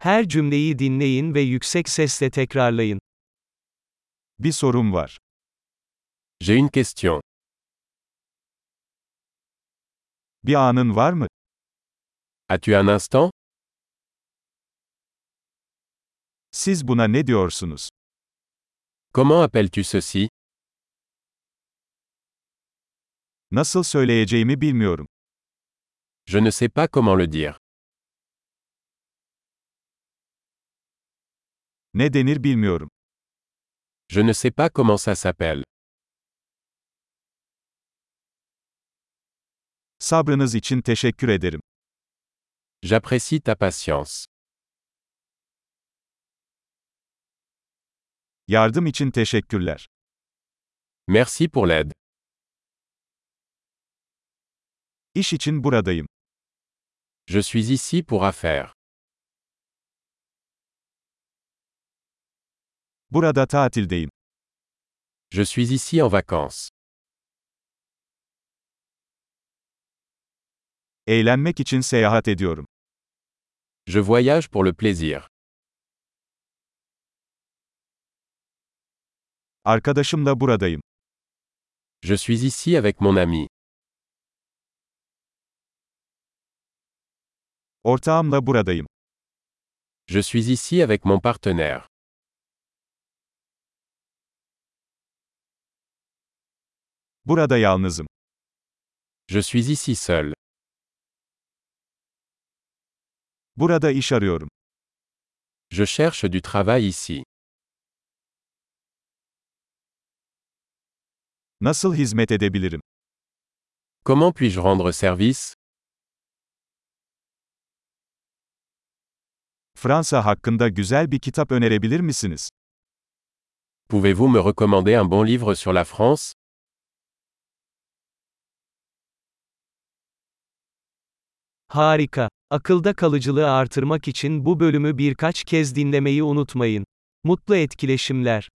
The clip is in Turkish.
Her cümleyi dinleyin ve yüksek sesle tekrarlayın. Bir sorum var. J'ai une question. Bir anın var mı? As-tu un instant Siz buna ne diyorsunuz? Comment appelles-tu ceci Nasıl söyleyeceğimi bilmiyorum. Je ne sais pas comment le dire. Ne denir bilmiyorum. Je ne sais pas comment ça s'appelle. Sabrınız için teşekkür ederim. J'apprécie ta patience. Yardım için teşekkürler. Merci pour l'aide. İş için buradayım. Je suis ici pour affaires. Burada tatildeyim. Je suis ici en vacances. Eğlenmek için seyahat ediyorum. Je voyage pour le plaisir. Arkadaşımla buradayım. Je suis ici avec mon ami. Ortağımla buradayım. Je suis ici avec mon partenaire. Burada yalnızım. Je suis ici seul. Burada iş arıyorum. Je cherche du travail ici. Nasıl hizmet edebilirim? Comment puis-je rendre service Fransa hakkında güzel bir kitap önerebilir misiniz? Pouvez-vous me recommander un bon livre sur la France Harika. Akılda kalıcılığı artırmak için bu bölümü birkaç kez dinlemeyi unutmayın. Mutlu etkileşimler.